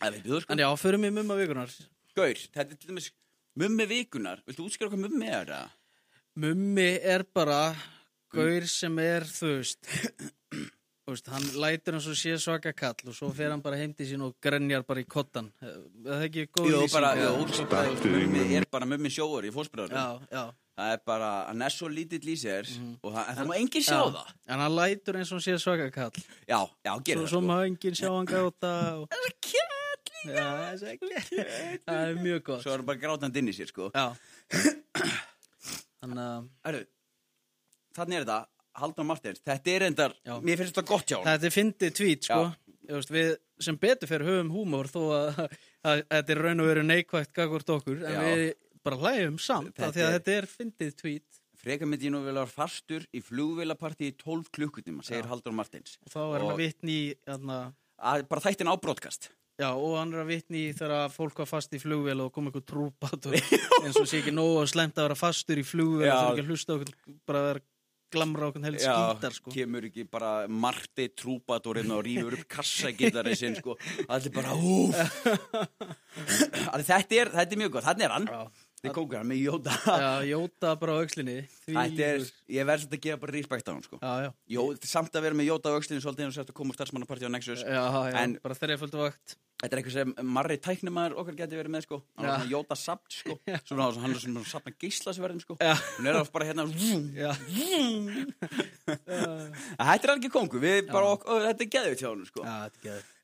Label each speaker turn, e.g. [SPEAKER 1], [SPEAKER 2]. [SPEAKER 1] að veitum þú sko
[SPEAKER 2] En já, förum við mumma vikunar
[SPEAKER 1] Gaur, þetta er til dæmis mummi vikunar Viltu útskýra hvað mummi er það?
[SPEAKER 2] Mummi er bara gaur sem er, þú veist Þú veist, hann lætur hans og sé svaka kall og svo fer hann bara heim til sín og grenjar bara í kottan Eh, Er það ekki góð
[SPEAKER 1] Jú,
[SPEAKER 2] lýsing?
[SPEAKER 1] bara,
[SPEAKER 2] Já.
[SPEAKER 1] jú, svo bara, þú veist, mummi er bara mummi sjóur í fósbræðarum
[SPEAKER 2] Já, já
[SPEAKER 1] Það er bara, hann er svo lítill í sér og það, en það má enginn sjá
[SPEAKER 2] Já.
[SPEAKER 1] það
[SPEAKER 2] En hann lætur eins og hann sé svaka kall
[SPEAKER 1] Já, já,
[SPEAKER 2] Svo,
[SPEAKER 1] gerir
[SPEAKER 2] svo
[SPEAKER 1] það
[SPEAKER 2] má enginn sjá hann gáta og...
[SPEAKER 1] sko
[SPEAKER 2] Já, það er ekki- það er mjög gott
[SPEAKER 1] Svo er hann bara grátandi inn í sér sko
[SPEAKER 2] Já Þannig að
[SPEAKER 1] Æru, þannig er þetta Haldur Martins, þetta er endar
[SPEAKER 2] Já.
[SPEAKER 1] Mér finnst þetta gott hjá hann
[SPEAKER 2] Þetta er fyndið tvít, sko. Þú Veist, við sem betur fyrir höfum húmór þó að, að, að þetta er raun og veru neikvægt gagvart okkur, en
[SPEAKER 1] Já.
[SPEAKER 2] við bara hlægjum samt
[SPEAKER 1] Þetta
[SPEAKER 2] af því að
[SPEAKER 1] er-
[SPEAKER 2] þetta er fyndið tvít
[SPEAKER 1] Freka myndi ég nú vilja vera fastur í flugvélaparti í 12 klukkutíma, segir Haldur Martins
[SPEAKER 2] og þá er hann
[SPEAKER 1] Og-
[SPEAKER 2] að vitni í, þarna,
[SPEAKER 1] að, Bara þættin á broadcast
[SPEAKER 2] já, og hann er að vitni í þegar að fólk var fast í flugvél og kom eitthvað trúpatur eins og sé ekki nógu og slemt að vera fastur í flugvél
[SPEAKER 1] Já.
[SPEAKER 2] og það er ekki að hlusta okkur, bara að vera glamra okkur helst skýtar, sko.
[SPEAKER 1] kemur ekki bara Marti trúpadorinn og rýfur upp kassagitari sinn sko, allir bara úf Alveg, þetta, er, þetta er mjög gott, þannig er hann
[SPEAKER 2] Já.
[SPEAKER 1] Þið kókar hann með Jóta
[SPEAKER 2] Já, jóta bara á aukslinni.
[SPEAKER 1] Þetta er, ég verð svolítið að gefa bara respekt á hann sko
[SPEAKER 2] Já, já.
[SPEAKER 1] Jó, samt að vera með Jóta á öxlinni svolítið eins og þetta komur starfsmannaparti á Nexus
[SPEAKER 2] Já, já,
[SPEAKER 1] En-
[SPEAKER 2] bara þreiföldu vakt.
[SPEAKER 1] Þetta er eitthvað sem marri tæknumæður okkar geti verið með sko Hann
[SPEAKER 2] Já.
[SPEAKER 1] er svona Jóta sapt sko Svona hann er svona sapna gíslasverðin sko
[SPEAKER 2] Já.
[SPEAKER 1] Hún er oft bara hérna vum,
[SPEAKER 2] Já.
[SPEAKER 1] Hmm. Þetta er alveg kongu, við bara okkur, þetta er geðið til honum sko
[SPEAKER 2] Já, þetta er geður.